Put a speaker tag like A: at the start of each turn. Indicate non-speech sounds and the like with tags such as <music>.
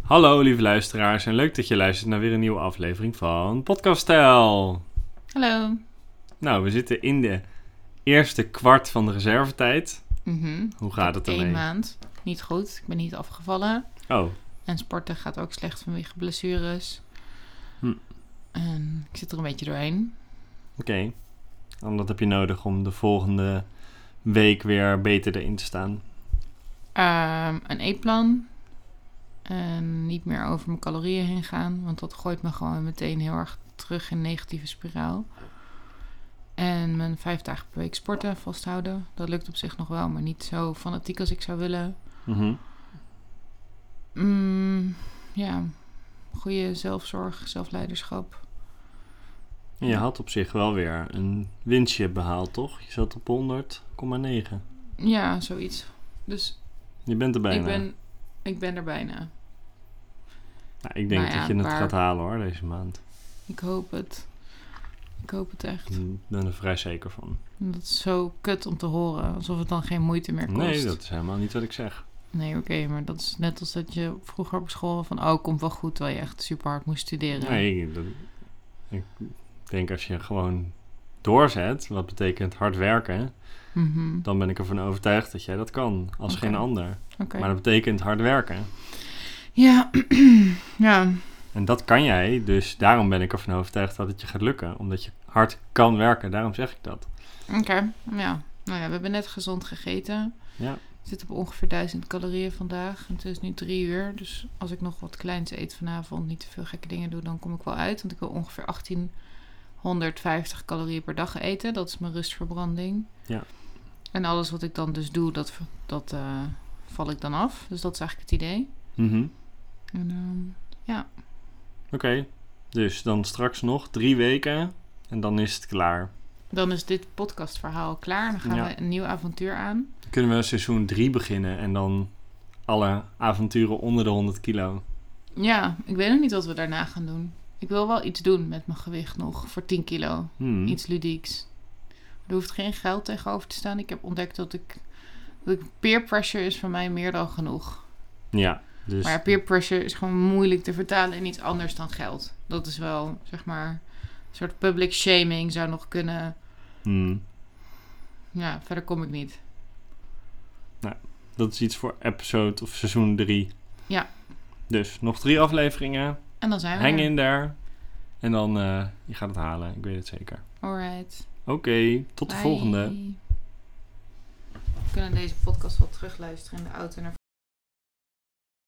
A: Hallo lieve luisteraars en leuk dat je luistert naar weer een nieuwe aflevering van Podcast Stijl.
B: Hallo.
A: Nou, we zitten in de eerste kwart van de reservetijd.
B: Mhm.
A: Hoe gaat het
B: Eén
A: ermee?
B: maand. Niet goed. Ik ben niet afgevallen.
A: Oh,
B: En sporten gaat ook slecht vanwege blessures.
A: Hm.
B: En ik zit er een beetje doorheen.
A: Oké. Dan dat heb je nodig om de volgende week weer beter erin te staan.
B: Ehm, een eetplan. En niet meer over mijn calorieën heen gaan. Want dat gooit me gewoon meteen heel erg terug in een negatieve spiraal. En mijn vijf dagen per week sporten vasthouden. Dat lukt op zich nog wel, maar niet zo fanatiek als ik zou willen.
A: Mhm.
B: Mm, ja, goede zelfzorg, zelfleiderschap.
A: En je had op zich wel weer een winstje behaald, toch? Je zat op 100,9.
B: Ja, zoiets. Dus
A: Je bent er bijna.
B: ik ben, ik ben er bijna.
A: Nou, ik denk
B: Nou ja,
A: dat je het
B: waar-
A: gaat halen hoor, deze maand.
B: Ik hoop het. Ik hoop het echt.
A: Ik ben er vrij zeker van.
B: En Dat is zo kut om te horen. Alsof het dan geen moeite meer kost.
A: Nee, dat is helemaal niet wat ik zeg.
B: Nee, oké. maar dat is net als dat je vroeger op school van... Oh, komt wel goed, terwijl je echt super hard moest studeren.
A: Nee, dat- ik denk als je gewoon doorzet, wat betekent hard werken,
B: Mhm,
A: dan ben ik ervan overtuigd dat jij dat kan, als
B: Oké.
A: geen ander.
B: Oké.
A: Maar dat betekent hard werken.
B: Ja. <clears throat> ja.
A: En dat kan jij, dus daarom ben ik ervan overtuigd dat het je gaat lukken. Omdat je hard kan werken, daarom zeg ik dat.
B: Oké. Ja. Nou ja, we hebben net gezond gegeten.
A: Ja.
B: Ik zit op ongeveer 1000 calorieën vandaag. En het is nu drie uur. Dus als ik nog wat kleins eet vanavond, niet te veel gekke dingen doe, dan kom ik wel uit. Want ik wil ongeveer 1850 calorieën per dag eten. Dat is mijn rustverbranding.
A: Ja.
B: En alles wat ik dan dus doe, dat, dat eh, val ik dan af. Dus dat is eigenlijk het idee.
A: Mhm.
B: En, ehm,
A: Oké, dus dan straks nog drie weken en dan is het klaar.
B: dan is dit podcastverhaal klaar. Dan gaan
A: Ja.
B: we een nieuw avontuur aan.
A: Dan kunnen we seizoen 3 beginnen en dan alle avonturen onder de 100 kilo.
B: Ja, ik weet nog niet wat we daarna gaan doen. Ik wil wel iets doen met mijn gewicht nog voor 10 kilo.
A: Hmm.
B: iets ludieks. Er hoeft geen geld tegenover te staan. Ik heb ontdekt dat ik, dat ik- peer pressure is voor mij meer dan genoeg.
A: Ja, dus
B: Maar ja, peer pressure is gewoon moeilijk te vertalen in iets anders dan geld. Dat is wel, zeg maar, een soort public shaming zou nog kunnen.
A: hmm.
B: Ja, verder kom ik niet.
A: Dat is iets voor episode of seizoen 3.
B: Ja.
A: Dus nog drie afleveringen.
B: En dan zijn we
A: Hang
B: er.
A: in daar. En dan eh, je gaat het halen. Ik weet het zeker.
B: Alright.
A: Oké, tot de
B: Bye.
A: volgende.
B: We kunnen deze podcast wel terugluisteren in de auto naar